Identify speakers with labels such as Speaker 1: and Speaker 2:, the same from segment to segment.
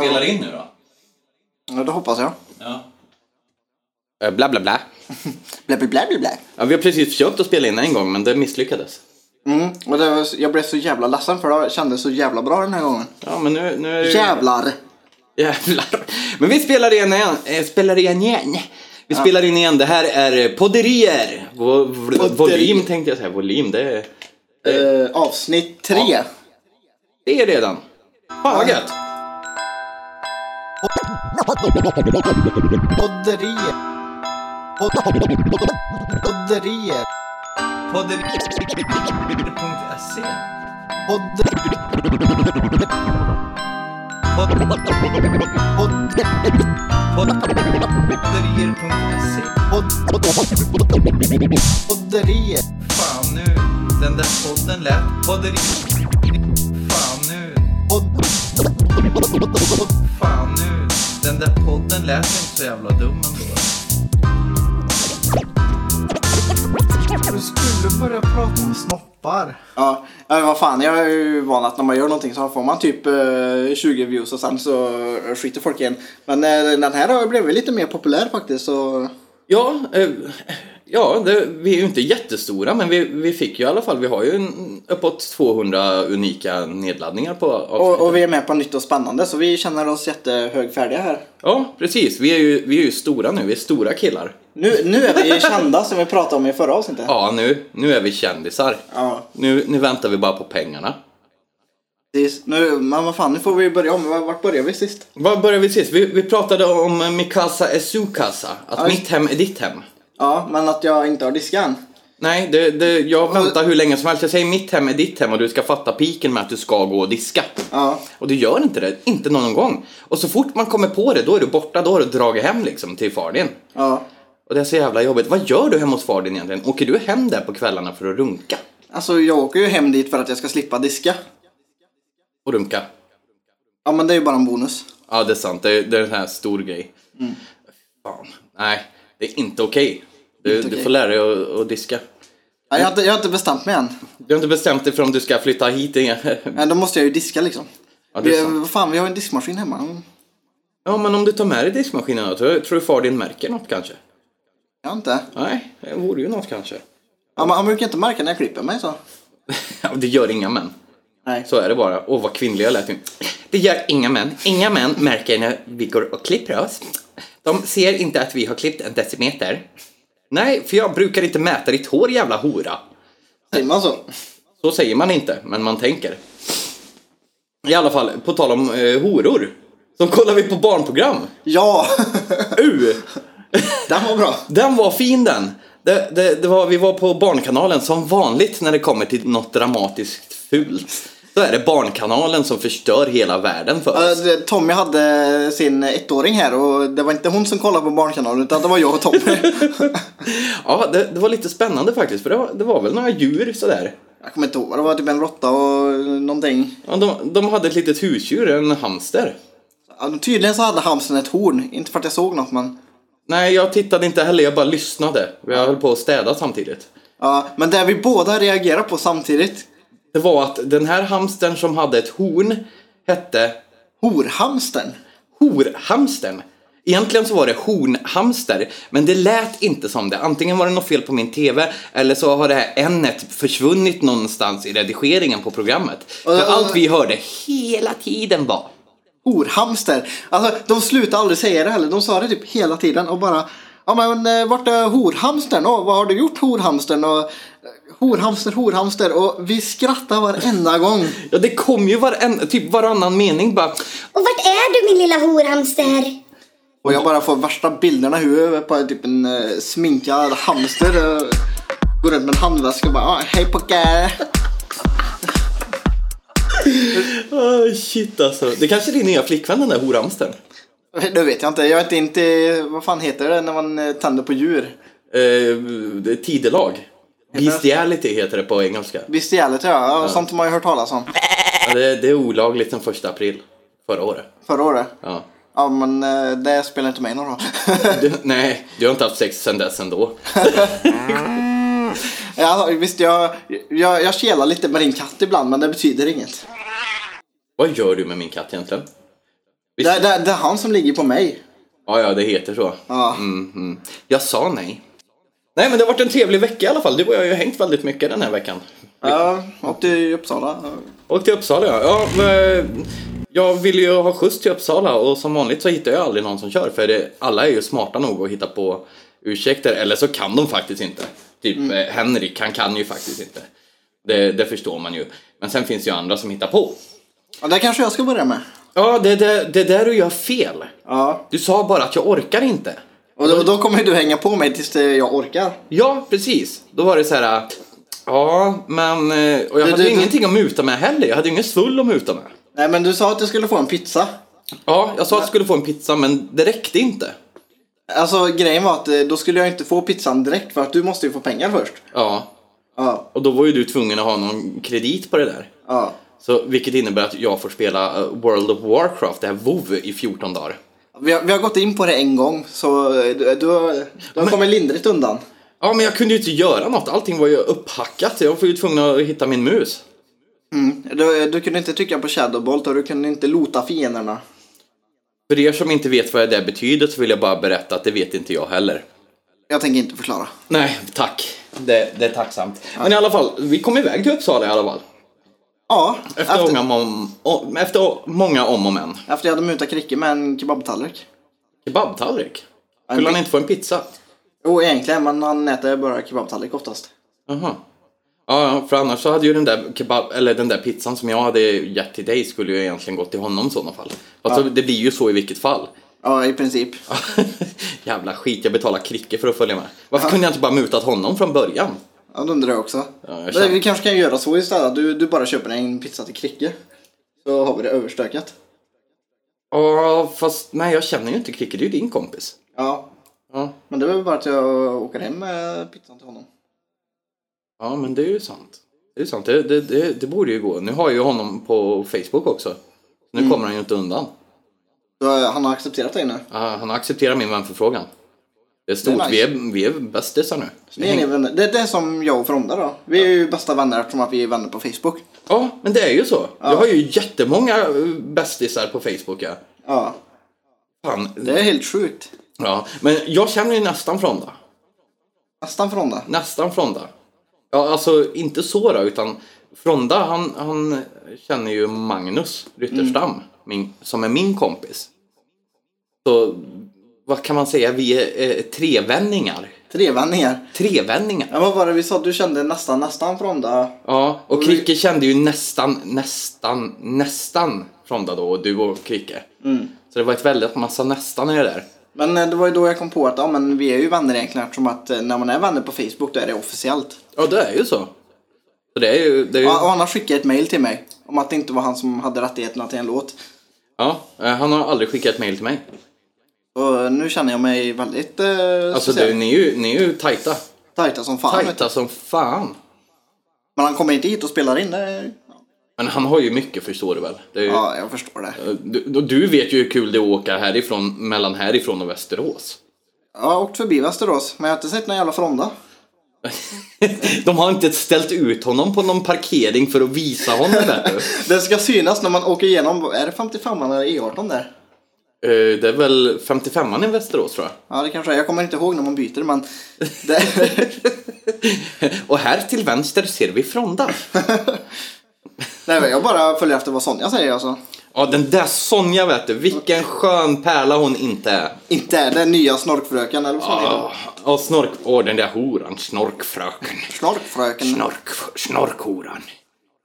Speaker 1: spelar in nu då?
Speaker 2: Ja, det hoppas jag.
Speaker 1: Ja.
Speaker 3: Eh, Bla, bla, bla.
Speaker 2: Blä, blä, blä, blä, blä.
Speaker 3: Ja, vi har precis försökt att spela in en gång, men det misslyckades.
Speaker 2: Mm. Och det var, jag blev så jävla ledsen för det kändes så jävla bra den här gången.
Speaker 3: Ja, men nu, nu är det...
Speaker 2: Jävlar!
Speaker 3: Jävlar. Men vi spelar igen igen. Eh, Spelar igen igen. Vi spelar in igen. Det här är eh, podderier. Vo- vo-
Speaker 2: Podderi.
Speaker 3: Volym tänkte jag säga. Volym, det är,
Speaker 2: Eh, avsnitt tre.
Speaker 3: det är redan. Fan vad gött.
Speaker 2: Podderier. Podderier.
Speaker 1: Podderier.se
Speaker 2: Podderier.
Speaker 1: Podderier.se
Speaker 2: Podderier.
Speaker 1: Fan nu, den där podden lät podderier. Fan nu, fan nu, den där podden lät inte så jävla dum ändå.
Speaker 4: Du skulle börja prata om snoppar.
Speaker 2: Ja, ja, vad fan. Jag är ju van att när man gör någonting så får man typ eh, 20 views och sen så skiter folk igen. Men eh, den här har ju blivit lite mer populär faktiskt. Så...
Speaker 3: Ja, eh, ja det, vi är ju inte jättestora, men vi, vi fick ju i alla fall, vi har ju en, uppåt 200 unika nedladdningar på
Speaker 2: Och,
Speaker 3: avsnittet.
Speaker 2: och vi är med på nytt och spännande så vi känner oss jättehögfärdiga här.
Speaker 3: Ja, precis. Vi är, ju, vi är ju stora nu, vi är stora killar.
Speaker 2: Nu, nu är vi kända som vi pratade om i förra avsnittet.
Speaker 3: Ja, nu, nu är vi kändisar.
Speaker 2: Ja,
Speaker 3: Nu, nu väntar vi bara på pengarna.
Speaker 2: precis. Nu, men vad fan, nu får vi börja om. Var- Vart började vi sist?
Speaker 3: Var började vi sist? Vi, vi pratade om eh, Mikasa är Sukasa. Att
Speaker 2: Aj.
Speaker 3: mitt hem är ditt hem.
Speaker 2: Ja, men att jag inte har diskan.
Speaker 3: Nej, det, det, jag väntar hur länge som helst. Jag säger mitt hem är ditt hem och du ska fatta piken med att du ska gå och diska.
Speaker 2: Ja.
Speaker 3: Och du gör inte det, inte någon gång. Och så fort man kommer på det, då är du borta, då har du dragit hem liksom till far din.
Speaker 2: Ja.
Speaker 3: Och det är så jävla jobbigt. Vad gör du hemma hos far din egentligen? Åker du hem där på kvällarna för att runka?
Speaker 2: Alltså jag åker ju hem dit för att jag ska slippa diska.
Speaker 3: Och runka?
Speaker 2: Ja, men det är ju bara en bonus.
Speaker 3: Ja, det är sant. Det är, det är en sån här stor grej.
Speaker 2: Mm.
Speaker 3: Fan. Nej, det är inte okej. Du,
Speaker 2: Inte
Speaker 3: du
Speaker 2: okej.
Speaker 3: får lära dig att, att diska.
Speaker 2: Ja, jag, har inte, jag har inte bestämt mig än.
Speaker 3: Du har inte bestämt dig för om du ska flytta hit igen.
Speaker 2: Men då måste jag ju diska liksom.
Speaker 3: Ja, det är
Speaker 2: vi,
Speaker 3: sant.
Speaker 2: vad fan, vi har ju en diskmaskin hemma. Mm,
Speaker 3: Ja, men om du tar med dig diskmaskinen då? Tror, tror du far din märker något kanske?
Speaker 2: Jag har inte.
Speaker 3: Nej, det vore ju något kanske.
Speaker 2: Ja, men han brukar inte märka när jag klipper mig så.
Speaker 3: Ja, det gör inga män.
Speaker 2: Nej.
Speaker 3: Så är det bara. Åh, vad kvinnlig jag lät. nu. Det gör inga män. Inga män märker när vi går och klipper oss. De ser inte att vi har klippt en decimeter. Nej, för jag brukar inte mäta ditt hår, jävla hora.
Speaker 2: Säger man så?
Speaker 3: Så säger man inte, men man tänker. I alla fall, på tal om eh, horor. Så kollar vi på barnprogram.
Speaker 2: Ja!
Speaker 3: U!
Speaker 2: Den var bra.
Speaker 3: Den var fin den! Det, det, det var, vi var på Barnkanalen som vanligt när det kommer till något dramatiskt fult. Då är det Barnkanalen som förstör hela världen för
Speaker 2: Eh,
Speaker 3: oss.
Speaker 2: det- Tommy hade sin ettåring här och det var inte hon som kollade på Barnkanalen utan det var jag och Tommy.
Speaker 3: Ja, det, det var lite spännande faktiskt för det var, det var väl några djur sådär.
Speaker 2: Jag kommer inte ihåg vad det var, typ en råtta och någonting.
Speaker 3: Ja, de, de hade ett litet husdjur, en hamster.
Speaker 2: Ja, Tydligen så hade hamstern ett horn, inte för att jag såg något men.
Speaker 3: Nej, jag tittade inte heller, jag bara lyssnade. Jag höll på att städa samtidigt.
Speaker 2: Ja, men det vi båda reagerar på samtidigt.
Speaker 3: Det var att den här hamstern som hade ett horn hette
Speaker 2: Horhamstern.
Speaker 3: horhamstern. Egentligen så var det hornhamster, men det lät inte som det. Antingen var det något fel på min TV eller så har det här n-et försvunnit någonstans i redigeringen på programmet. För
Speaker 2: Och- och-
Speaker 3: allt vi hörde hela tiden var
Speaker 2: Horhamster. Alltså de slutade aldrig säga det heller. De sa det typ hela tiden och bara. Ja men eh, vart är horhamstern? Och vad har du gjort horhamstern? Och eh, horhamster, horhamster. Och vi skrattade varenda gång.
Speaker 3: Ja, det kom ju varen, typ varannan mening bara.
Speaker 5: Och vart är du min lilla horhamster?
Speaker 2: Och jag bara får värsta bilderna i huvudet på typ en eh, sminkad hamster. eh, Går runt med en handväska och bara ah, hej pojkar.
Speaker 3: Oh, shit alltså. Det kanske är din nya flickvän den där horhamstern?
Speaker 2: Det vet jag inte. Jag är inte inte, vad fan heter det när man eh, tänder på djur?
Speaker 3: Eh, det är tidelag. Bestiality heter det på engelska.
Speaker 2: Visst är det ja. ja. Sånt har man ju hört talas om
Speaker 3: Ja, det, det är olagligt sen första april förra året.
Speaker 2: förra året.
Speaker 3: Ja.
Speaker 2: Ja men eh, det spelar inte mig någon roll.
Speaker 3: Du, nej, du har inte haft sex sen dess ändå.
Speaker 2: ja, visst jag, jag, jag kelar lite med din katt ibland men det betyder inget.
Speaker 3: Vad gör du med min katt egentligen?
Speaker 2: Det, det, det är han som ligger på mig.
Speaker 3: Ja, ja, det heter så.
Speaker 2: Ja.
Speaker 3: Mm, mm. Jag sa nej. Nej, men det har varit en trevlig vecka i alla fall. Du och jag har ju hängt väldigt mycket den här veckan.
Speaker 2: Ja, och till Uppsala.
Speaker 3: Och till Uppsala, ja. ja men, jag vill ju ha skjuts till Uppsala och som vanligt så hittar jag aldrig någon som kör för det, alla är ju smarta nog att hitta på ursäkter eller så kan de faktiskt inte. Typ eh, Henrik, han kan ju faktiskt inte. Det, det förstår man ju. Men sen finns det ju andra som hittar på.
Speaker 2: Ja, det kanske jag ska börja med.
Speaker 3: Ja, det är det, det där du gör fel.
Speaker 2: Ja.
Speaker 3: Du sa bara att jag orkar inte.
Speaker 2: Och då, då kommer ju du hänga på mig tills eh, jag orkar.
Speaker 3: Ja, precis. Då var det så här. äh, Ja, men... eh, Och jag
Speaker 2: Du-
Speaker 3: hade
Speaker 2: du-
Speaker 3: ju ingenting att muta med heller. Jag hade ju ingen svull att muta med.
Speaker 2: Nej, men du sa att du skulle få en pizza.
Speaker 3: Ja, jag sa att jag skulle få en pizza, men det räckte inte.
Speaker 2: Alltså grejen var att eh, då skulle jag inte få pizzan direkt för att du måste ju få pengar först.
Speaker 3: Ja,
Speaker 2: Ja,
Speaker 3: och då var ju du tvungen att ha någon kredit på det där.
Speaker 2: ja.
Speaker 3: Så, vilket innebär att jag får spela eh, World of Warcraft, det här WoW i 14 dagar.
Speaker 2: Vi har, vi har gått in på det en gång så eh, du, du, har- du har kommit lindrigt undan.
Speaker 3: Ja, men jag kunde ju inte göra något. Allting var ju upphackat. så Jag var ju tvungen att hitta min mus.
Speaker 2: Du, du kunde inte trycka på Shadowbolt och du kunde inte lota fienderna.
Speaker 3: För er som inte vet vad det där betyder så vill jag bara berätta att det vet inte jag heller.
Speaker 2: Jag tänker inte förklara.
Speaker 3: Nej, tack. Det, det är tacksamt. Men i alla fall, vi kom iväg till Uppsala i alla fall.
Speaker 2: Ja,
Speaker 3: Efter,
Speaker 2: efter,
Speaker 3: Många, om, om, efter många om och men.
Speaker 2: efter jag hade mutat Kricke med en kebabtallrik.
Speaker 3: Kebabtallrik? Skulle han inte få en pizza?
Speaker 2: Jo, egentligen, men han äter bara kebabtallrik oftast.
Speaker 3: Jaha. Ja, ja, för annars så hade ju den där, kebab, eller den där pizzan som jag hade gett till dig skulle ju egentligen gått till honom i sådana fall. Fast så- det blir ju så i vilket fall.
Speaker 2: Ja, i princip.
Speaker 3: Jävla skit, jag betalar Kricke för att följa med. Varför kunde jag inte bara mutat honom från början?
Speaker 2: Ja, det undrar jag också.
Speaker 3: jag
Speaker 2: Men
Speaker 3: känner-
Speaker 2: Vi kanske kan göra så istället. Du, du bara köper en pizza till Kricke. Så har vi det överstökat.
Speaker 3: Ja, fast nej jag känner ju inte Kricke, det är ju din kompis.
Speaker 2: Ja,
Speaker 3: Ja,
Speaker 2: men det var väl bara att jag åker hem med pizzan till honom.
Speaker 3: ja men det är ju sant. Det är ju sant, det, det, det, det borde ju gå. Nu har jag ju honom på Facebook också. Nu
Speaker 2: Mm.
Speaker 3: kommer han ju inte undan.
Speaker 2: Så eh, han har accepterat dig nu.
Speaker 3: Ja, han accepterar min vänförfrågan. Det är stort,
Speaker 2: Det är
Speaker 3: vi
Speaker 2: nice.
Speaker 3: är, vi är bästisar nu.
Speaker 2: Det är, ni vänner. det är det som jag och Fronda då. Vi är ju bästa vänner eftersom att vi är vänner på Facebook.
Speaker 3: Ja, men det är ju så. Jag har ju jättemånga eh, bästisar på Facebook. Ja.
Speaker 2: Ja,
Speaker 3: Fan.
Speaker 2: det är helt sjukt.
Speaker 3: Ja, men jag känner ju nästan Fronda.
Speaker 2: Nästan Fronda.
Speaker 3: Nästan Fronda. Ja, alltså inte så då, utan Fronda han, han känner ju Magnus Rytterstam, min, som är min kompis. Så vad kan man säga, vi är eh, trevänningar.
Speaker 2: Tre vänningar.
Speaker 3: Trevänningar.
Speaker 2: Ja, vad var det vi sa? Du kände nästan, nästan Fronda.
Speaker 3: Ja, och Kricke kände ju nästan, nästan, nästan Fronda då, och du och Kricke. Så det var ett väldigt massa nästan i det där.
Speaker 2: Men eh, det var ju då jag kom på att ja, men vi är ju vänner egentligen eftersom att eh, när man är vänner på Facebook då är det officiellt.
Speaker 3: Ja, det är ju så. så det är ju, det är ju,
Speaker 2: Ja, och
Speaker 3: ja.
Speaker 2: han har skickat ett mail till mig om att det inte var han som hade rättigheterna till en låt.
Speaker 3: eh, han har aldrig skickat ett mejl till mig.
Speaker 2: Och nu känner jag mig väldigt eh,
Speaker 3: Alltså
Speaker 2: speciell.
Speaker 3: du, ni är ju, ni är ju tajta.
Speaker 2: tajta som fan. vet du.
Speaker 3: Tajta som alltså, fan.
Speaker 2: Men han kommer inte hit och spelar in. Det...
Speaker 3: Men han har ju mycket förstår du väl? Det är ju,
Speaker 2: Ja, jag förstår det.
Speaker 3: eh, du, och du vet ju hur kul det är att åka härifrån, mellan härifrån och Västerås.
Speaker 2: Jag har åkt förbi Västerås, men jag har inte sett någon jävla Fronda.
Speaker 3: De har inte ställt ut honom på någon parkering för att visa honom där du.
Speaker 2: Det ska synas när man åker igenom, är det 55 eller E18 där?
Speaker 3: Eh, Det är väl 55an i Västerås tror jag.
Speaker 2: Ja, det kanske är. Jag kommer inte ihåg när man byter, men... Det...
Speaker 3: Och här till vänster ser vi Fronda.
Speaker 2: Nej, men jag bara följer efter vad Sonja säger alltså.
Speaker 3: Ja, den där Sonja vet du, vilken skön pärla hon inte är.
Speaker 2: Inte är den nya snorkfröken eller vad fan heter
Speaker 3: Ja, och snork... Åh, den där horan, snorkfröken.
Speaker 2: det? Snorkfröken.
Speaker 3: Snork... Snorkhoran.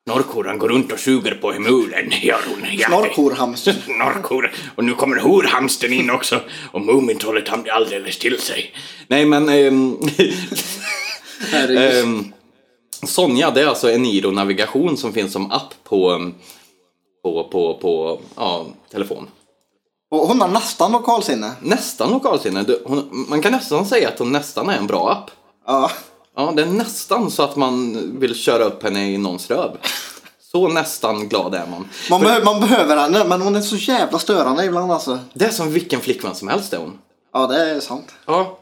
Speaker 3: Snorkhoran går runt och suger på mulen, gör hon. Ja.
Speaker 2: Snorkhorhamstern.
Speaker 3: Snorkhoran. Och nu kommer horhamstern in också. Och Mumintrollet han blir alldeles till sig. Nej, men... ehm,
Speaker 2: Herregud.
Speaker 3: ehm, Sonja, det är alltså Eniro navigation som finns som app på... ehm, På, på, på, ja, telefon.
Speaker 2: Och hon har nästan lokalsinne.
Speaker 3: Nästan lokalsinne. Du, hon, man kan nästan säga att hon nästan är en bra app.
Speaker 2: Ja.
Speaker 3: Ja, det är nästan så att man vill köra upp henne i någons röv. Så nästan glad är man.
Speaker 2: Man, behö- man behöver henne, men hon är så jävla störande ibland alltså.
Speaker 3: Det är som vilken flickvän som helst är hon.
Speaker 2: Ja, det är sant.
Speaker 3: Ja.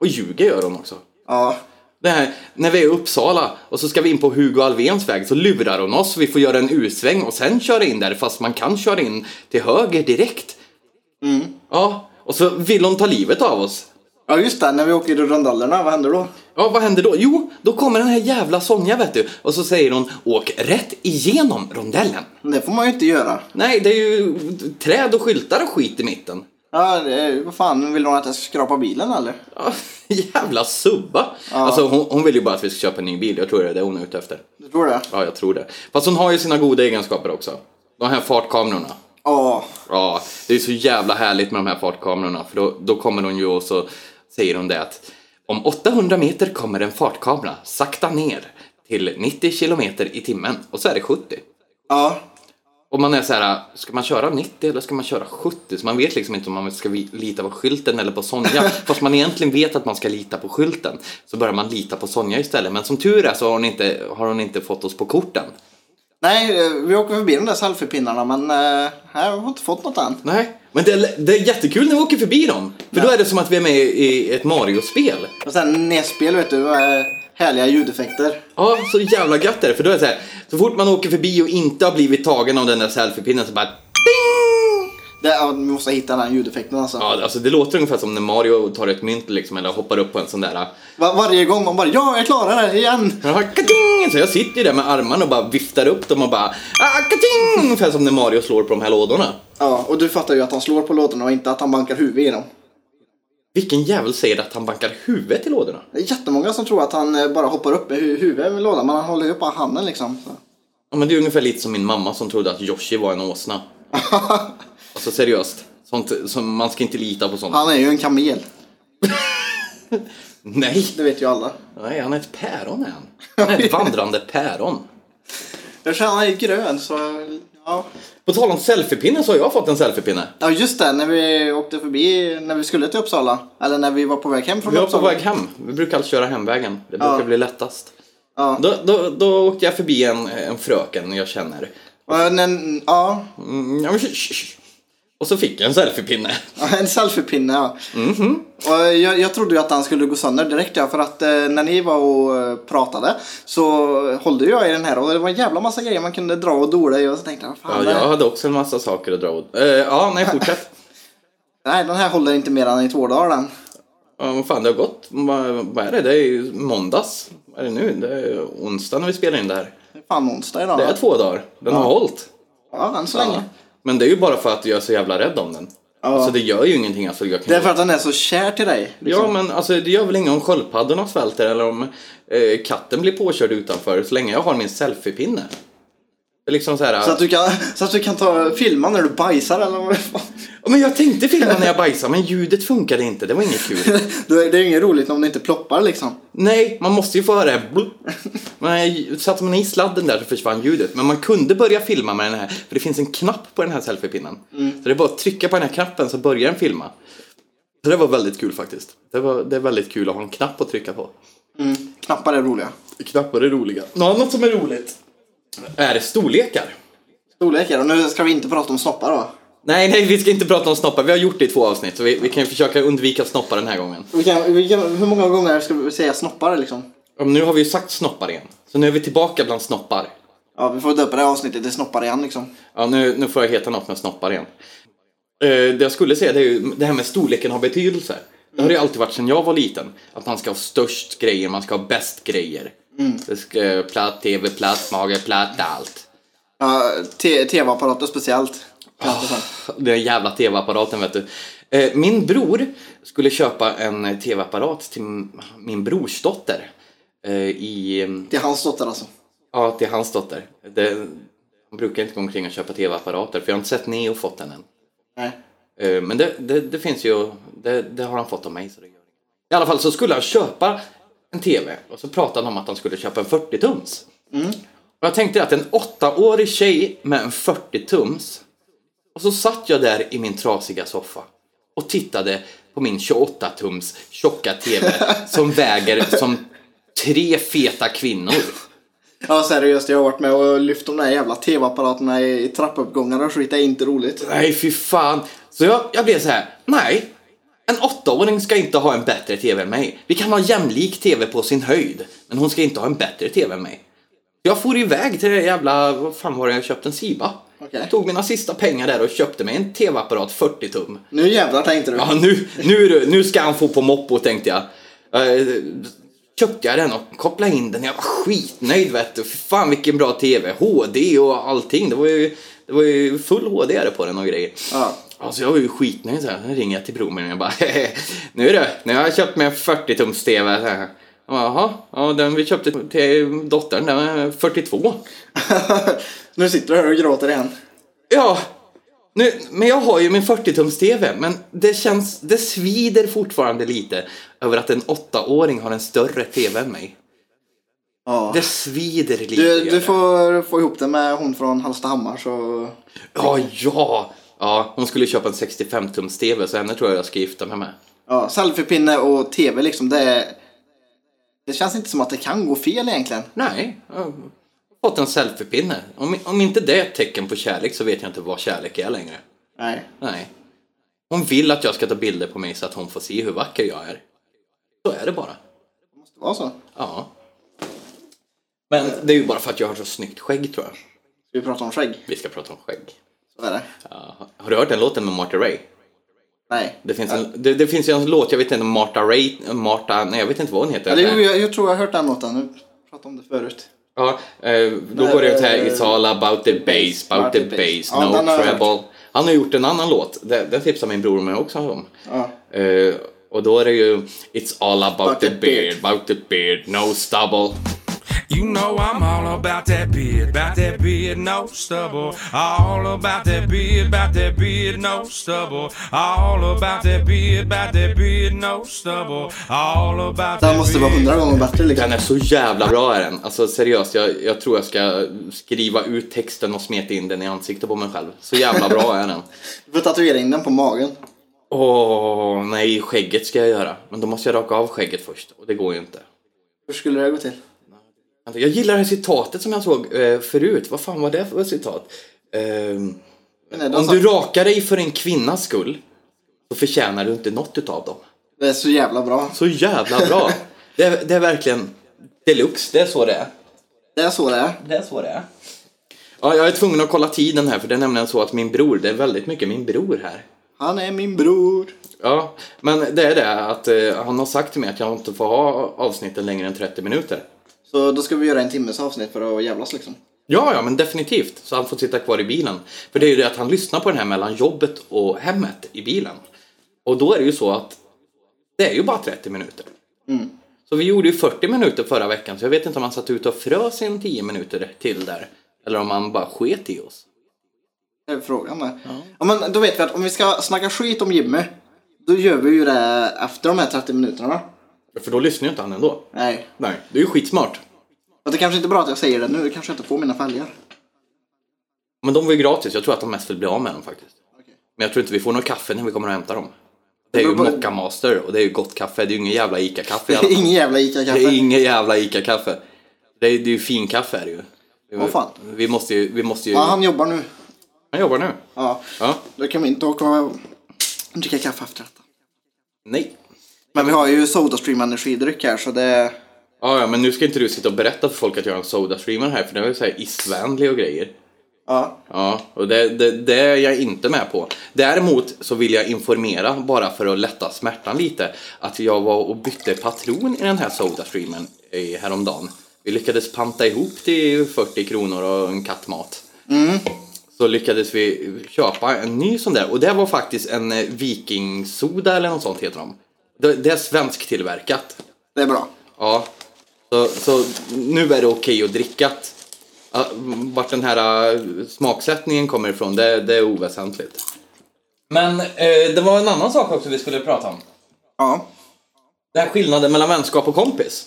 Speaker 3: Och ljuger gör hon också.
Speaker 2: Ja.
Speaker 3: Det här, när vi är i Uppsala och så ska vi in på Hugo Alvéns väg så lurar hon oss. Vi får göra en U-sväng och sen köra in där fast man kan köra in till höger direkt. Ja, och så vill hon ta livet av oss.
Speaker 2: Ja just det, när vi åker i rondellerna, vad händer då?
Speaker 3: Ja, vad händer då? Jo, då kommer den här jävla Sonja vet du. Och så säger hon åk rätt igenom rondellen.
Speaker 2: Det får man ju inte göra.
Speaker 3: Nej, det är ju träd och skyltar och skit i mitten.
Speaker 2: Ja, det är- vad fan, vill hon att jag ska skrapa bilen eller?
Speaker 3: Ja, jävla subba. Alltså hon, hon vill ju bara att vi ska köpa en ny bil. Jag tror det är det hon är ute efter.
Speaker 2: Du tror det?
Speaker 3: Ja, jag tror det. Fast hon har ju sina goda egenskaper också. De här fartkamerorna.
Speaker 2: Ja.
Speaker 3: Ja, det är så jävla härligt med de här fartkamerorna. För då, då kommer hon ju och så säger hon det att om 800 meter kommer en fartkamera sakta ner till 90 kilometer i timmen och så är det 70.
Speaker 2: Ja.
Speaker 3: Och man är så här, ska man köra 90 eller ska man köra 70? Så man vet liksom inte om man ska vi- lita på skylten eller på Sonja. Fast man egentligen vet att man ska lita på skylten. Så börjar man lita på Sonja istället. Men som tur är så har hon inte, har hon inte fått oss på korten.
Speaker 2: Nej, eh, vi åker förbi de där selfiepinnarna men eh, jag har inte fått något än.
Speaker 3: Nej, men det är, det är jättekul när vi åker förbi dem. För då är det som att vi är med i ett Mario-spel.
Speaker 2: Och sen nedspel vet du, eh, härliga ljudeffekter.
Speaker 3: Ja, så jävla gött är det. För då är det så här, så fort man åker förbi och inte har blivit tagen av den där selfiepinnen så bara ding!
Speaker 2: Det, ja, vi måste hitta den här ljudeffekten alltså.
Speaker 3: Ja, alltså det låter ungefär som när Mario tar ett mynt liksom, eller hoppar upp på en sån där
Speaker 2: Va- varje gång man bara ja, jag klarar det igen.
Speaker 3: Ja, kating! Så jag sitter ju där med armarna och bara viftar upp dem och bara ah, kating! Ungefär som när Mario slår på de här lådorna.
Speaker 2: Ja, och du fattar ju att han slår på låtarna och inte att han bankar huvudet i dem.
Speaker 3: Vilken jävel säger att han bankar huvudet i lådorna?
Speaker 2: Det är jättemånga som tror att han eh, bara hoppar upp med hu- huvudet med lådan men han håller ju bara handen liksom. Så.
Speaker 3: Ja, men det är ungefär lite som min mamma som trodde att Yoshi var en åsna. Alltså seriöst, sånt, som, man ska inte lita på sånt.
Speaker 2: Han är ju en kamel,
Speaker 3: Nej!
Speaker 2: det vet ju alla.
Speaker 3: Nej, han är ett päron är han. Han är ett vandrande päron.
Speaker 2: Jag känner han är grön så ja.
Speaker 3: På tal om selfiepinne så har jag fått en selfiepinne.
Speaker 2: Ja just det, när vi åkte förbi, när vi skulle till Uppsala. Eller när vi var på väg hem från
Speaker 3: Vi var på
Speaker 2: Uppsala.
Speaker 3: väg hem. Vi brukar alltid köra hemvägen. Det brukar
Speaker 2: Ja.
Speaker 3: bli lättast.
Speaker 2: Ja.
Speaker 3: Då, då, då åkte jag förbi en, en fröken jag känner.
Speaker 2: Och en- en, ja,
Speaker 3: Mm, ja, men sh- sh- sh. Och så fick jag en selfiepinne.
Speaker 2: en selfiepinne ja.
Speaker 3: Mhm.
Speaker 2: Och jag, jag trodde ju att han skulle gå sönder direkt ja, för att eh, när ni var och eh, pratade så hållde jag i den här och det var en jävla massa grejer man kunde dra och dola i och så tänkte jag,
Speaker 3: Ja,
Speaker 2: fan
Speaker 3: jag
Speaker 2: nej,
Speaker 3: hade också en massa saker att dra åt. Eh, ja, nej, fortsätt.
Speaker 2: nej den här håller inte mer än i två dagar den.
Speaker 3: Ja, vad fan, det har gått. Vad, vad är det? Det är ju måndags. Vad är det nu? Det är onsdag när vi spelar in det här.
Speaker 2: Det är fan onsdag idag.
Speaker 3: Det är två dagar. Den har hållit.
Speaker 2: Ja, än så
Speaker 3: Ja.
Speaker 2: länge.
Speaker 3: Men det är ju bara för att jag är så jävla rädd om den. Alltså det gör ju ingenting. Alltså, jag kan
Speaker 2: Det är för att den är så kär till dig. Liksom.
Speaker 3: Ja, men alltså, det gör väl inget om sköldpaddorna svälter eller om eh, katten blir påkörd utanför så länge jag har min selfiepinne. Det är liksom så här...
Speaker 2: Så att, du kan, så att du kan ta filma när du bajsar eller vad fan.
Speaker 3: Ja, Men jag tänkte filma när jag bajsade men ljudet funkade inte, det var inget kul.
Speaker 2: Det är- det är ju inget roligt om det inte ploppar liksom.
Speaker 3: Nej, man måste ju få höra det här blup. Men satte man i sladden där så försvann ljudet. Men man kunde börja filma med den här, för det finns en knapp på den här selfiepinnen. Så det är bara att trycka på den här knappen så börjar den filma. Så det var väldigt kul faktiskt. Det, var, det är väldigt kul att ha en knapp att trycka på.
Speaker 2: Mm, Knappar är roliga.
Speaker 3: Knappar är roliga. Något annat som är roligt är storlekar.
Speaker 2: Storlekar. Och nu ska vi inte prata om snoppar då.
Speaker 3: Nej, nej, vi ska inte prata om snoppar. Vi har gjort det i två avsnitt, så vi, vi kan ju försöka undvika snoppar den här gången.
Speaker 2: Vi kan, vi kan, hur många gånger ska vi säga snoppar liksom?
Speaker 3: Ja, men nu har vi ju sagt snoppar igen, så nu är vi tillbaka bland snoppar.
Speaker 2: Ja, vi får döpa det här avsnittet till snoppar igen liksom.
Speaker 3: Ja, nu, nu får jag heta något med snoppar igen. Eh, det jag skulle säga det är ju det här med storleken har betydelse. Det har det ju alltid varit sedan jag var liten. Att man ska ha störst grejer, man ska ha bäst grejer. Det ska eh, platt, tv, platt, mage, platt, allt.
Speaker 2: Ja, te- tv-apparater speciellt. Kanske sen.
Speaker 3: Den jävla tv-apparaten vet du. Eh, Min bror skulle köpa en eh, tv-apparat till m- min brors dotter. eh, I, eh,
Speaker 2: Till hans dotter alltså.
Speaker 3: ja, till hans dotter. Det, han brukar inte gå omkring och köpa tv-apparater för jag har inte sett Neo fått den än.
Speaker 2: Nej.
Speaker 3: Eh, Men det, det, det finns ju, det, det har han fått av mig. Så det gör inget. I alla fall så skulle han köpa en TV och så pratade han om att han skulle köpa en 40-tums. Och jag tänkte att en åttaårig tjej med en 40-tums och så satt jag där i min trasiga soffa och tittade på min 28-tums tjocka TV som väger som tre feta kvinnor.
Speaker 2: Ja, seriöst. Jag har varit med och lyft de där jävla tv-apparaterna i, i trappuppgångar och skit. Det är inte roligt.
Speaker 3: Nej, fy fan. Så jag, jag blev så här, nej. En åttaåring ska inte ha en bättre TV än mig. Vi kan ha jämlik TV på sin höjd, men hon ska inte ha en bättre TV än mig. Jag for iväg till det jävla, vad fan var det jag köpte, en Siba.
Speaker 2: Okej.
Speaker 3: Tog mina sista pengar där och köpte mig en tv-apparat 40 tum.
Speaker 2: Nu jävlar tänkte du.
Speaker 3: Ja, nu, nu, är det- nu ska han få på moppo tänkte jag. Eh, köpte jag den och kopplade in den. Jag var skitnöjd vet du. Fy fan vilken bra TV. HD och allting. Det var ju, det var ju full HD är det på den och grejer.
Speaker 2: Ja.
Speaker 3: Alltså jag var ju skitnöjd så här. Nu ringer jag till bror min och jag bara Nu du, nu har jag köpt mig en 40-tums TV. Så här. Jaha, ja, den vi köpte till dottern den är 42.
Speaker 2: nu sitter du här och gråter igen.
Speaker 3: Ja, nu, men jag har ju min 40-tums-TV, men det känns, det svider fortfarande lite över att en åttaåring har en större TV än mig.
Speaker 2: Ja.
Speaker 3: Det svider lite.
Speaker 2: Du,
Speaker 3: gör det.
Speaker 2: du får få ihop det med hon från Hallstahammar så...
Speaker 3: Ja, ja! Ja, hon skulle köpa en 65-tums-TV, så henne tror jag jag ska gifta mig med.
Speaker 2: Ja, selfiepinne och tv liksom, det är... Det känns inte som att det kan gå fel egentligen.
Speaker 3: Nej, jag har fått en selfiepinne. Om, om inte det är ett tecken på kärlek så vet jag inte vad kärlek är längre.
Speaker 2: Nej.
Speaker 3: Nej. Hon vill att jag ska ta bilder på mig så att hon får se hur vacker jag är. Så är det bara.
Speaker 2: Det var så. Ska
Speaker 3: Ja. Men det är ju bara för att jag har så snyggt skägg tror jag.
Speaker 2: vi prata om skägg?
Speaker 3: Vi ska prata om skägg.
Speaker 2: Så är det.
Speaker 3: Ja. Har du hört den låten med Marta Ray?
Speaker 2: Nej.
Speaker 3: Det finns, en, det, det finns ju en låt, jag vet inte, Marta Ray, Marta, nej jag vet inte vad hon heter.
Speaker 2: Eller jo, jag, jag tror jag har hört den låten. Nu pratade om det förut.
Speaker 3: Ja, eh, då
Speaker 2: Nej,
Speaker 3: går det ut här,
Speaker 2: eh,
Speaker 3: It's all about the bass, about
Speaker 2: about the
Speaker 3: the bass,
Speaker 2: bass. Ja,
Speaker 3: no
Speaker 2: den har jag
Speaker 3: trouble. Han har gjort en annan låt, det, det tipsar min bror mig också om.
Speaker 2: Ja.
Speaker 3: Eh, och då är det ju It's all about,
Speaker 2: About
Speaker 3: the,
Speaker 2: the
Speaker 3: beard,
Speaker 2: beard.
Speaker 3: about the beard, no stubble.
Speaker 6: You know I'm all about that beard, about that beard, no stubble. All about that beard, about that beard, no stubble. All about that beard, about that beard, no stubble. All about
Speaker 2: Den
Speaker 6: that
Speaker 2: måste vara
Speaker 6: beard.
Speaker 2: hundra gånger bättre liksom.
Speaker 3: Den är så jävla bra är den. Alltså seriöst, jag, jag tror jag ska skriva ut texten och smeta in den i ansiktet på mig själv. Så jävla bra är den.
Speaker 2: Du får tatuera in den på magen.
Speaker 3: Åh, nej, skägget ska jag göra. Men då måste jag raka av skägget först och det går ju inte.
Speaker 2: Hur skulle det gå till?
Speaker 3: Vänta, Jag gillar det här citatet som jag såg eh, förut. Vad fan var det för citat? Ehm,
Speaker 2: Nej, de
Speaker 3: om
Speaker 2: sa-
Speaker 3: du rakar dig för en kvinnas skull så förtjänar du inte något utav dem.
Speaker 2: Det är så jävla bra.
Speaker 3: Så jävla bra! det, är, det är verkligen deluxe, det är så det är.
Speaker 2: Det är så det är.
Speaker 3: Det är så det är. Ja, jag är tvungen att kolla tiden här för det är nämligen så att min bror, det är väldigt mycket min bror här.
Speaker 2: Han är min bror.
Speaker 3: Ja, men det är det att eh, han har sagt till mig att jag inte får ha avsnitten längre än 30 minuter.
Speaker 2: Så då ska vi göra en timmes avsnitt för att jävlas liksom.
Speaker 3: Ja, ja, men definitivt. Så han får sitta kvar i bilen. För det är ju det att han lyssnar på den här mellan jobbet och hemmet i bilen. Och då är det ju så att det är ju bara 30 minuter. Mm. Så vi gjorde ju 40 minuter förra veckan så jag vet inte om han satt ute och frös en 10 minuter till där. Eller om han bara sket i oss.
Speaker 2: Det är frågan där. Ja, men då vet vi att om vi ska snacka skit om Jimmy. Då gör vi ju det efter de här 30 minuterna.
Speaker 3: För då lyssnar ju inte han ändå.
Speaker 2: Nej.
Speaker 3: Nej, det är ju skitsmart.
Speaker 2: Men det kanske inte är bra att jag säger det nu. Det kanske jag inte får mina följare.
Speaker 3: Men de var ju gratis. Jag tror att de mest vill bli av med dem faktiskt. Men jag tror inte vi får något kaffe när vi kommer och hämtar dem. Det är ju
Speaker 2: Det beror på-
Speaker 3: Mocca Master och det är ju gott kaffe. Det är ju ingen jävla ICA-kaffe i alla fall.
Speaker 2: Ingen jävla
Speaker 3: Det är
Speaker 2: ICA-kaffe.
Speaker 3: ingen jävla ICA-kaffe. Det är, det är ju finkaffe är det ju.
Speaker 2: Vad fan?
Speaker 3: Vi måste ju... Vi måste ju...
Speaker 2: Ja, han jobbar nu.
Speaker 3: han jobbar nu.
Speaker 2: Ja.
Speaker 3: Ja.
Speaker 2: Då kan vi inte åka och dricka kaffe efter detta.
Speaker 3: Nej.
Speaker 2: Men vi har ju Sodastream energidryck här så det...
Speaker 3: Ja, ja, men nu ska inte du sitta och berätta för folk att jag är en Sodastreamer här, för det är ju så här isvänlig och grejer.
Speaker 2: Ja.
Speaker 3: Ja, och det, det, det är jag inte med på. Däremot så vill jag informera, bara för att lätta smärtan lite, att jag var och bytte patron i den här Sodastreamen eh, häromdagen. Vi lyckades panta ihop till 40 kronor och en kattmat. Så lyckades vi köpa en ny sån där och det var faktiskt en eh, vikingsoda eller något sånt heter de. Det, det är svensktillverkat.
Speaker 2: Det är bra.
Speaker 3: Ja, så, så nu är det okej att dricka. Ja, Vart den här äh, smaksättningen kommer ifrån, det, det är oväsentligt. Men eh, det var en annan sak också vi skulle prata om.
Speaker 2: Ja.
Speaker 3: Den här skillnaden mellan vänskap och kompis.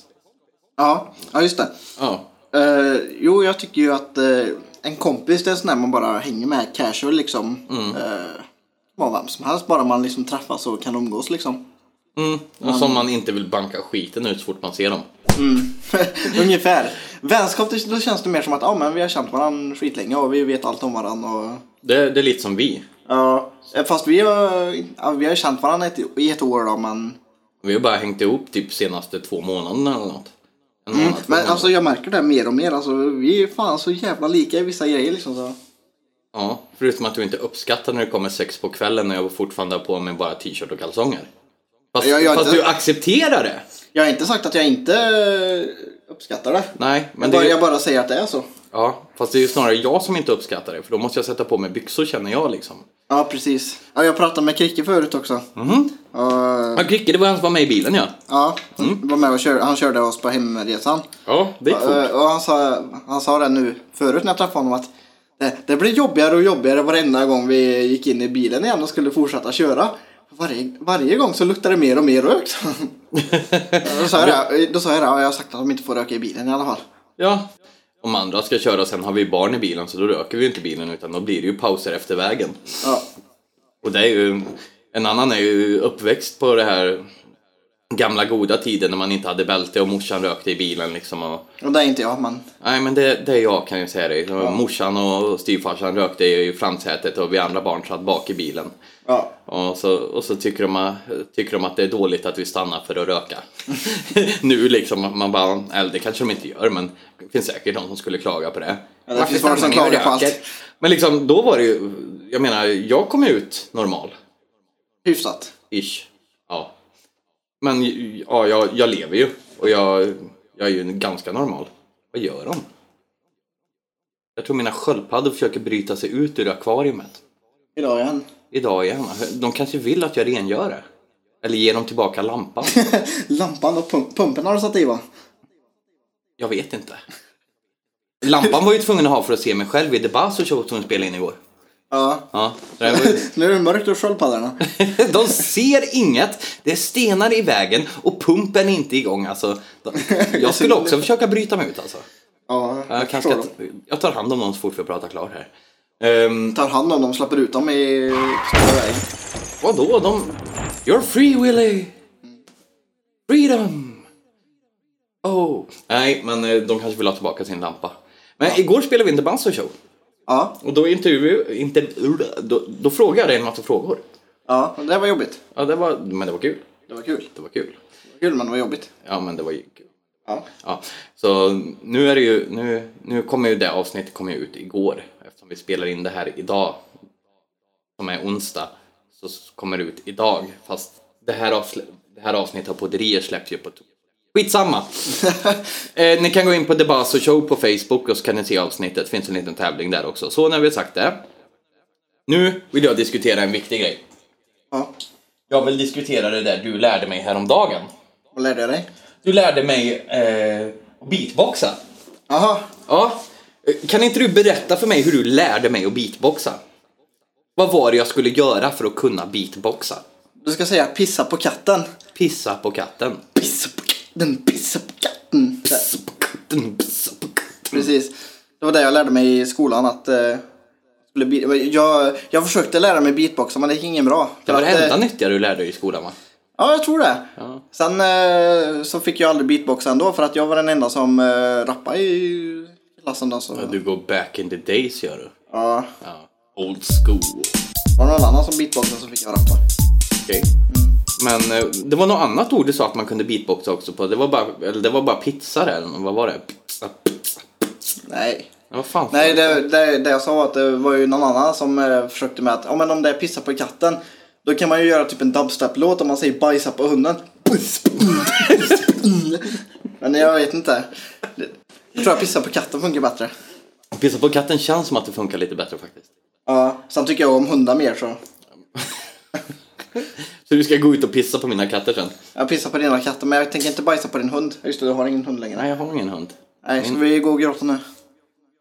Speaker 2: Ja, ja just det.
Speaker 3: Ja.
Speaker 2: Eh, jo, jag tycker ju att eh, en kompis det är en sån där man bara hänger med casual liksom. Mm. Uh, vem som helst, bara man liksom träffas och kan umgås liksom.
Speaker 3: Mm. Och som man inte vill banka skiten ut så fort man ser dem.
Speaker 2: Ungefär. Vänskap, det, då känns det mer som att ah, men vi har känt varandra skitlänge och vi vet allt om varandra. Och,
Speaker 3: Det, det är lite som vi.
Speaker 2: ja, fast vi har, ja, vi har ju känt varandra ett, i ett år då, men,
Speaker 3: Vi har bara hängt ihop typ senaste två månaderna eller något. En månad, två
Speaker 2: Mm. men
Speaker 3: månader.
Speaker 2: alltså, jag märker det mer och mer. Alltså, vi är fan så jävla lika i vissa grejer liksom. Så.
Speaker 3: Ja, förutom att du inte uppskattar när det kommer sex på kvällen när jag fortfarande har på mig bara t-shirt och kalsonger. Fast,
Speaker 2: Jag- jag-
Speaker 3: fast du accepterar det.
Speaker 2: Jag har inte sagt att jag inte eh, uppskattar det.
Speaker 3: Nej, men
Speaker 2: jag,
Speaker 3: det är
Speaker 2: bara,
Speaker 3: ju-
Speaker 2: jag bara säger att det är så.
Speaker 3: Ja, fast det är ju snarare jag som inte uppskattar det för då måste jag sätta på mig byxor känner jag liksom.
Speaker 2: Ja, precis. Ja, jag pratade med Kricke förut också.
Speaker 3: Mhm.
Speaker 2: Och,
Speaker 3: Ja, Kricke, det var han som var med i bilen ja.
Speaker 2: ja,
Speaker 3: Mm.
Speaker 2: var med och körde, han körde oss på hemresan.
Speaker 3: Ja, det gick fort.
Speaker 2: Eh, Och han sa, han sa det nu förut när jag träffade honom att det, det blir jobbigare och jobbigare varenda gång vi gick in i bilen igen och skulle fortsätta köra. Varje, varje gång så luktade det mer och mer rök. sa han. då sa jag det, då sa jag det, ja, jag har sagt att de inte får röka i bilen i alla fall.
Speaker 3: Ja. Om andra ska köra sen har vi barn i bilen så då röker vi ju inte bilen utan då blir det ju pauser efter vägen.
Speaker 2: Ja,
Speaker 3: Och det är ju, en annan är ju uppväxt på det här gamla goda tiden när man inte hade bälte och morsan rökte i bilen liksom. Och,
Speaker 2: och det är inte jag, men
Speaker 3: nej men det, det är jag kan jag säga dig. Morsan och styvfarsan rökte i framsätet och vi andra barn satt bak i bilen.
Speaker 2: ja.
Speaker 3: Och så, och så tycker, de, att- tycker de att det är dåligt att vi stannar för att röka. nu liksom, man bara, eller det kanske de inte gör men det finns säkert någon som skulle klaga på det.
Speaker 2: Ja, det finns folk som
Speaker 3: stannar ni och
Speaker 2: klagar på
Speaker 3: röker?
Speaker 2: allt.
Speaker 3: Men liksom då var det ju, jag menar jag kom ut normal.
Speaker 2: Hyfsat.
Speaker 3: Ish. Ja. Men ja, jag, jag lever ju. Och jag, jag är ju ganska normal. Vad gör de? Jag tror mina sköldpaddor försöker bryta sig ut ur akvariet.
Speaker 2: Idag igen.
Speaker 3: Idag igen. De kanske vill att jag rengör det. Eller ger dem tillbaka lampan.
Speaker 2: Lampan och pump, pumpen har du satt i va?
Speaker 3: Jag vet inte. Lampan var ju tvungen att ha för att se mig själv i The Basso Show som vi spelade in igår.
Speaker 2: Ja.
Speaker 3: Ja, så det var ju-
Speaker 2: nu är det mörkt och sköldpaddorna.
Speaker 3: De ser inget, det är stenar i vägen och pumpen är inte igång. Alltså, de- jag skulle också försöka bryta mig ut alltså.
Speaker 2: Ja, jag,
Speaker 3: Jag, kanske
Speaker 2: förstår
Speaker 3: ska,
Speaker 2: dem.
Speaker 3: jag tar hand om dem så fort vi pratar klart här. Um,
Speaker 2: Tar hand om dem, släpper ut dem i stora väg.
Speaker 3: vadå, de... You're free Willy! Freedom! Oh. Nej, men eh, de kanske vill ha tillbaka sin lampa. Men igår spelade vi inte Banzo Show
Speaker 2: Ja,
Speaker 3: och då, intervju, inte, då, då frågade jag dig en massa frågor.
Speaker 2: ja, det var jobbigt.
Speaker 3: Ja, det var, men det var kul.
Speaker 2: Det var kul.
Speaker 3: Det var kul.
Speaker 2: Det var kul men det var jobbigt.
Speaker 3: Ja, men det var ju kul.
Speaker 2: Ja.
Speaker 3: Ja, så nu är det ju, nu, nu kommer ju det avsnittet kommer ju ut igår eftersom vi spelar in det här idag som är onsdag så s- kommer det ut idag fast det här, avsl- det här avsnittet av podderier släpps ju på to- Skitsamma! eh, ni kan gå in på The Basso Show på Facebook och så kan ni se avsnittet, finns en liten tävling där också. Så när vi har sagt det. Nu vill jag diskutera en viktig grej.
Speaker 2: Ja.
Speaker 3: Jag vill diskutera det där du lärde mig häromdagen.
Speaker 2: Vad lärde jag dig?
Speaker 3: Du lärde mig eh, att beatboxa.
Speaker 2: Jaha,
Speaker 3: Ja. Kan inte du berätta för mig hur du lärde mig att beatboxa? Vad var det jag skulle göra för att kunna beatboxa?
Speaker 2: du ska säga pissa på katten.
Speaker 3: Pissa på katten.
Speaker 2: Pissa på katten, pissa på katten.
Speaker 3: Pissa på katten, pissa på katten.
Speaker 2: Precis. Det var det jag lärde mig i skolan att eh, skulle be- jag, jag försökte lära mig beatboxa men det gick ingen bra.
Speaker 3: Det var det
Speaker 2: För att,
Speaker 3: enda
Speaker 2: eh,
Speaker 3: nyttiga du lärde dig i skolan va?
Speaker 2: Ja, jag tror det.
Speaker 3: Ja.
Speaker 2: Sen eh, så fick jag aldrig beatboxa ändå för att jag var den enda som eh, rappade i klassen då. Så.
Speaker 3: Du går back in the days gör du.
Speaker 2: Ja.
Speaker 3: Ja. Old school.
Speaker 2: Var det någon annan som beatboxade så fick jag rappa.
Speaker 3: Okej. Men eh, det var något annat ord du sa att man kunde beatboxa också på. Det var bara, eller det var bara pizza där, eller vad var det? Pizza, pizza.
Speaker 2: Nej.
Speaker 3: Ja, vad fan
Speaker 2: Nej, det, det, det jag sa var att det var ju någon annan som eh, försökte med att ja, men om det är pissa på katten då kan man ju göra typ en dubstep-låt om man säger bajsa på hunden. Men jag vet inte. Jag tror att pissa på katten funkar bättre.
Speaker 3: Pizza på katten känns som att det funkar lite bättre faktiskt.
Speaker 2: Ja, sen tycker jag om hundar mer så.
Speaker 3: Så du ska gå ut och pissa på mina katter sen?
Speaker 2: Jag pissar på dina katter men jag tänker inte bajsa på din hund. Just det, du har ingen hund längre.
Speaker 3: Nej, jag har ingen hund.
Speaker 2: Nej, ska vi gå och gråta nu?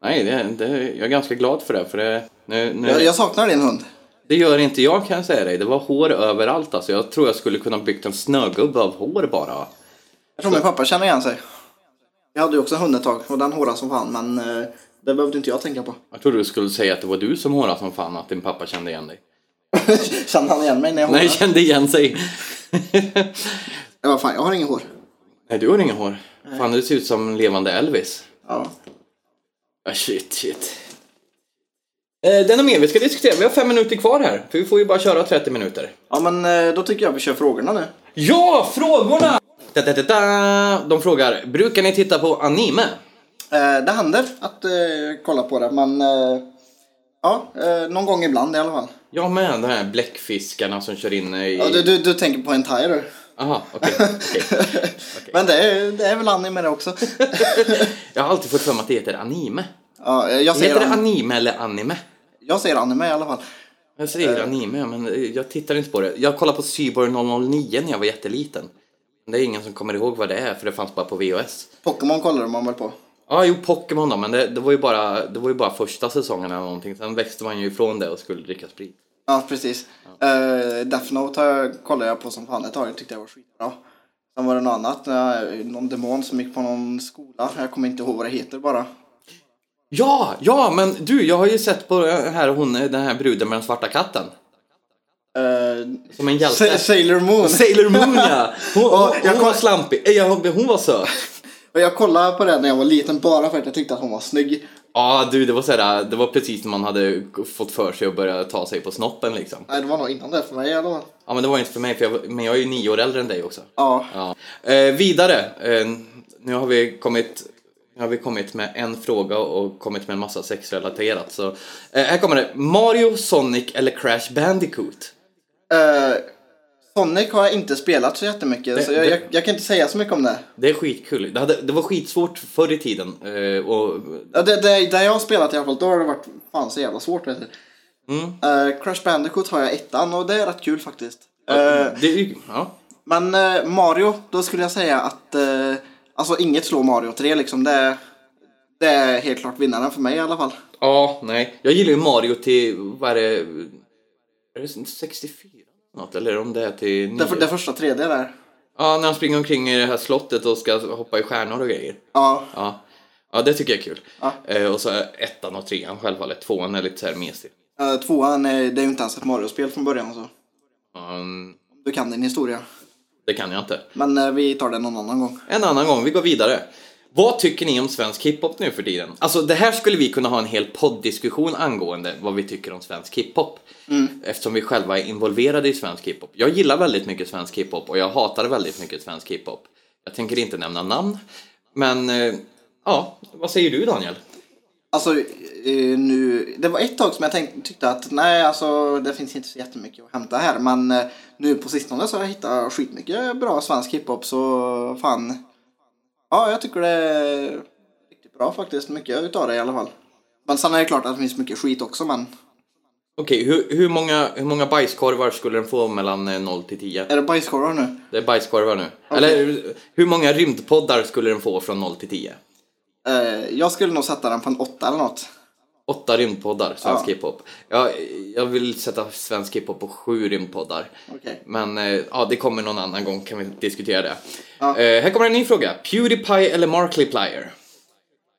Speaker 3: Nej, det, det, jag är ganska glad för det. För det, nu, nu,
Speaker 2: Jag, jag saknar din hund.
Speaker 3: det gör inte jag kan jag säga dig. Det var hår överallt alltså. Jag tror jag skulle kunna byggt en snögubbe av hår bara.
Speaker 2: Jag tror min pappa känner igen sig. Jag hade ju också en hund ett tag och den hårade som fan men eh, det behövde inte jag tänka på.
Speaker 3: Jag trodde du skulle säga att det var du som hårade som fan att din pappa kände igen dig.
Speaker 2: Kände han igen mig när jag
Speaker 3: Nej,
Speaker 2: hårade?
Speaker 3: kände igen sig.
Speaker 2: Ja, vad fan, jag har ingen hår.
Speaker 3: Nej, du har inga hår. Fan, du ser ut som en levande Elvis.
Speaker 2: Ja.
Speaker 3: Ah, shit, shit. Eh, det är nog mer vi ska diskutera. Vi har fem minuter kvar här. För vi får ju bara köra 30 minuter.
Speaker 2: ja, men eh, då tycker jag vi kör frågorna nu.
Speaker 3: Ja, frågorna! Da, da, da, da. De frågar, brukar ni titta på anime?
Speaker 2: Eh, det händer att eh, kolla på det, men eh, Ja, eh, någon gång ibland i alla fall.
Speaker 3: Jag med, de här bläckfiskarna som kör in i...
Speaker 2: Ja, du, du, du tänker på en tire.
Speaker 3: Aha, okej. okej.
Speaker 2: Men det är, det är väl anime det också.
Speaker 3: Jag har alltid fått för mig att det heter anime.
Speaker 2: Ja, eh, jag, säger
Speaker 3: Heter det
Speaker 2: an-
Speaker 3: anime eller anime?
Speaker 2: jag säger anime i alla fall.
Speaker 3: Jag säger anime, men eh, jag tittar inte på det. Jag kollade på Cyborg 009 när jag var jätteliten. Men Det är ingen som kommer ihåg vad det är, för det fanns bara på VHS.
Speaker 2: Pokémon kollar man väl på?
Speaker 3: Ja, jo, Pokémon då, men det, det, var ju bara, det var ju bara första säsongen eller någonting. Sen växte man ju ifrån det och skulle dricka sprit.
Speaker 2: Ja, precis. Eh, Death Note har jag, kollade jag på som fan ett tag. Tyckte jag var skitbra. Sen var det något annat. eh, Någon demon som gick på någon skola. Jag kommer inte ihåg vad det heter bara.
Speaker 3: Ja, ja, men du, jag har ju sett på eh, här hon, eh, den här bruden med den svarta katten.
Speaker 2: Eh,
Speaker 3: Som en hjälte.
Speaker 2: Sa- Sailor Moon.
Speaker 3: Sailor Moon ja! Hon, hon,
Speaker 2: Ja, jag
Speaker 3: hon
Speaker 2: kom-
Speaker 3: var slampig, Eh, jag- hon var söt.
Speaker 2: Och jag kollade på det när jag var liten bara för att jag tyckte att hon var snygg.
Speaker 3: Ja du, det var såhär, det var precis när man hade fått för sig att börja ta sig på snoppen liksom.
Speaker 2: Nej, det var nog innan det för mig i alla fall.
Speaker 3: Ja men det var inte för mig, för jag, men jag är ju nio år äldre än dig också.
Speaker 2: Ja.
Speaker 3: Ja. Eh, vidare, eh, nu har vi kommit nu har vi kommit med en fråga och kommit med en massa sexrelaterat. Så, eh, här kommer det. Mario, Sonic eller Crash Bandicoot?
Speaker 2: Eh, Sonic har jag inte spelat så jättemycket så jag,
Speaker 3: det-
Speaker 2: jag, jag kan inte säga så mycket om det.
Speaker 3: Det är skitkul. Det, hade, det var skitsvårt förr i tiden. Eh, och,
Speaker 2: Ja, det, det. Där jag har spelat i alla fall, då har det varit fan så jävla svårt vet du.
Speaker 3: Mm.
Speaker 2: Eh, Crash Bandicoot har jag ettan och det är rätt kul faktiskt. Eh,
Speaker 3: det, är ju- ja.
Speaker 2: men eh, Mario, då skulle jag säga att eh, alltså inget slår Mario 3 liksom. Det är, det är helt klart vinnaren för mig i alla fall.
Speaker 3: Ja, nej. Jag gillar ju Mario till, vad är det, är det 64 något? Eller om det är till 9?
Speaker 2: Det, för, det första 3D där.
Speaker 3: Ja, när han springer omkring i det här slottet och ska hoppa i stjärnor och grejer.
Speaker 2: Ja,
Speaker 3: Ja, ja det tycker jag är kul.
Speaker 2: Ja.
Speaker 3: Eh, och så ettan och trean självfallet. Tvåan är lite så här mesig.
Speaker 2: eh, tvåan är, det är ju inte ens ett Mario-spel från början så.
Speaker 3: Um,
Speaker 2: Du kan din historia.
Speaker 3: det kan jag inte.
Speaker 2: Men eh, vi tar det någon annan gång.
Speaker 3: En annan gång, vi går vidare. Vad tycker ni om svensk hiphop nu för tiden? Alltså det här skulle vi kunna ha en hel podddiskussion angående vad vi tycker om svensk hiphop. Eftersom vi själva är involverade i svensk hiphop. Jag gillar väldigt mycket svensk hiphop och jag hatar väldigt mycket svensk hiphop. Jag tänker inte nämna namn. Men, eh, ja, vad säger du Daniel?
Speaker 2: Alltså eh, nu, det var ett tag som jag tänkte, tyckte att nej alltså det finns inte så jättemycket att hämta här men eh, nu på sistone så har jag hittat skitmycket bra svensk hiphop så fan. Ja jag tycker det är riktigt bra faktiskt, mycket utav det i alla fall. Men sen är det klart att det finns mycket skit också men
Speaker 3: Okej, hur, hur, många, hur många bajskorvar skulle den få mellan eh, 0 till 10?
Speaker 2: är det bajskorvar nu?
Speaker 3: Det är bajskorvar nu. Eller hur många rymdpoddar skulle den få från 0 till 10?
Speaker 2: Eh, jag skulle nog sätta den på en åtta eller något.
Speaker 3: Åtta rymdpoddar, svensk
Speaker 2: Ja.
Speaker 3: hiphop. Jag, jag vill sätta svensk hiphop på sju rymdpoddar.
Speaker 2: Okej.
Speaker 3: Men eh, ja, det kommer någon annan gång kan vi diskutera det.
Speaker 2: Ja.
Speaker 3: Eh, här kommer en ny fråga. Pewdiepie eller Markiplier?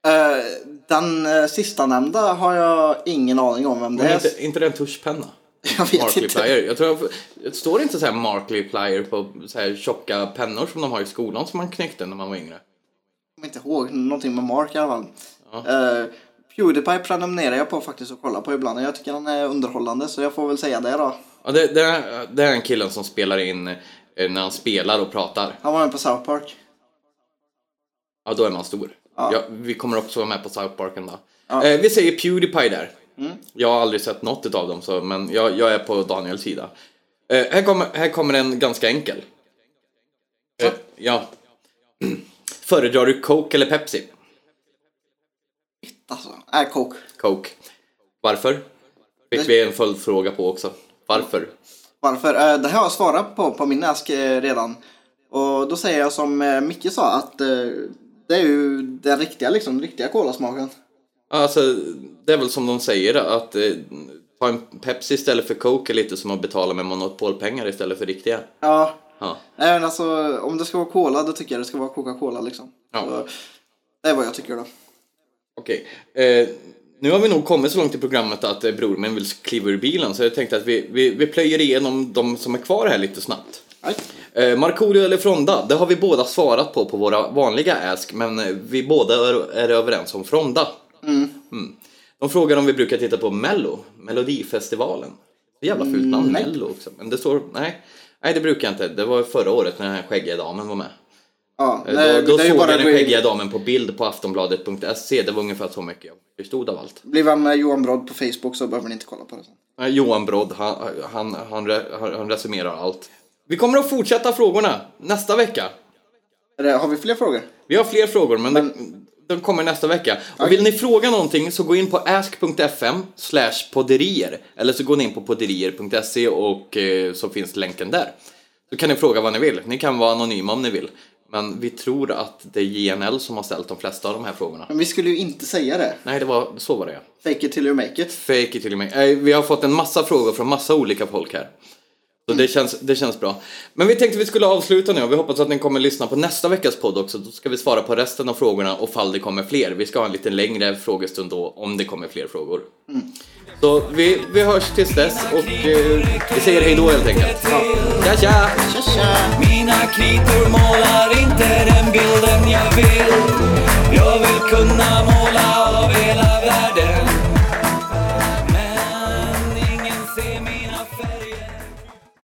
Speaker 2: Eh, den eh, sista nämnda har jag ingen aning om vem det
Speaker 3: Men
Speaker 2: är.
Speaker 3: inte, inte den tuschpenna?
Speaker 2: Jag vet inte.
Speaker 3: Markiplier. Jag tror jag, det står inte så här Markiplier på så här tjocka pennor som de har i skolan som man knäckte när man var yngre?
Speaker 2: kommer inte ihåg, någonting med Mark i alla fall. Eh, Pewdiepie prenumererar jag på faktiskt och kollar på ibland. Jag tycker han är underhållande så jag får väl säga det då.
Speaker 3: Ja, det, det, är, det är den killen som spelar in eh, när han spelar och pratar.
Speaker 2: Han var med på South Park.
Speaker 3: Ja, då är man stor. Ja.
Speaker 2: Ja.
Speaker 3: vi kommer också vara med på South Park en dag. Eh, vi säger Pewdiepie där. Jag har aldrig sett något av dem, så, men jag, jag är på Daniels sida. Eh, här, kommer, här kommer en ganska enkel. Eh, ja. Föredrar du Coke eller Pepsi?
Speaker 2: Alltså, är Coke.
Speaker 3: Coke. Varför? Fick vi en följdfråga på också. Varför?
Speaker 2: Varför? Eh, det här har jag svarat på på min ask eh, redan. Och då säger jag som eh, Micke sa att eh, det är ju den riktiga liksom, riktiga kolasmaken.
Speaker 3: Alltså, det är väl som de säger att eh, ta en Pepsi istället för Coke är lite som att betala med monopolpengar istället för riktiga.
Speaker 2: Ja.
Speaker 3: Ja.
Speaker 2: Nej men alltså om det ska vara cola då tycker jag det ska vara Coca-Cola liksom.
Speaker 3: Ja.
Speaker 2: Så, det är vad jag tycker då.
Speaker 3: Okej, eh, nu har vi nog kommit så långt i programmet att eh, bror min vill kliva ur bilen så jag tänkte att vi, vi, vi plöjer igenom de som är kvar här lite snabbt.
Speaker 2: Nej.
Speaker 3: Eh, Markoolio eller Fronda, det har vi båda svarat på på våra vanliga Ask men eh, vi båda är, är överens om Fronda. Mm. De frågar om vi brukar titta på Mello, Melodifestivalen. Det är jävla fult namn, Mello också. Men det står, nej, nej det brukar jag inte. Det var förra året när den här skäggiga damen var med.
Speaker 2: Ja,
Speaker 3: Eh,
Speaker 2: nej,
Speaker 3: då då
Speaker 2: det är ju
Speaker 3: såg
Speaker 2: bara
Speaker 3: jag den
Speaker 2: att gå in-
Speaker 3: skäggiga damen på bild på aftonbladet.se. Det var ungefär så mycket jag förstod av allt.
Speaker 2: Blir man med Johan Brodd på Facebook så behöver ni inte kolla på det sen.
Speaker 3: Eh, Johan Brodd, han, han, han, re- han, han resumerar allt. Vi kommer att fortsätta frågorna nästa vecka.
Speaker 2: Är det- Har vi fler frågor?
Speaker 3: Vi har fler frågor, men, de, de kommer nästa vecka. Och vill ni fråga någonting så gå in på ask.fm slash podderier. Eller så går ni in på podderier.se och eh, så finns länken där. Så kan ni fråga vad ni vill. Ni kan vara anonyma om ni vill. Men vi tror att det är JNL som har ställt de flesta av de här frågorna.
Speaker 2: Men vi skulle ju inte säga det.
Speaker 3: Nej, det var, så var det ja.
Speaker 2: Fake it till you make it.
Speaker 3: Fake it till me. Eh, Vi har fått en massa frågor från massa olika folk här. Så det, känns, det känns bra. Men vi tänkte vi skulle avsluta nu och vi hoppas att ni kommer lyssna på nästa veckas podd också. Då ska vi svara på resten av frågorna och fall det kommer fler. Vi ska ha en lite längre frågestund då om det kommer fler frågor. Så vi, vi hörs tills dess och eh, vi säger hej då helt enkelt. Tja tja!
Speaker 7: Mina kritor målar inte den bilden jag vill Jag vill kunna måla av hela världen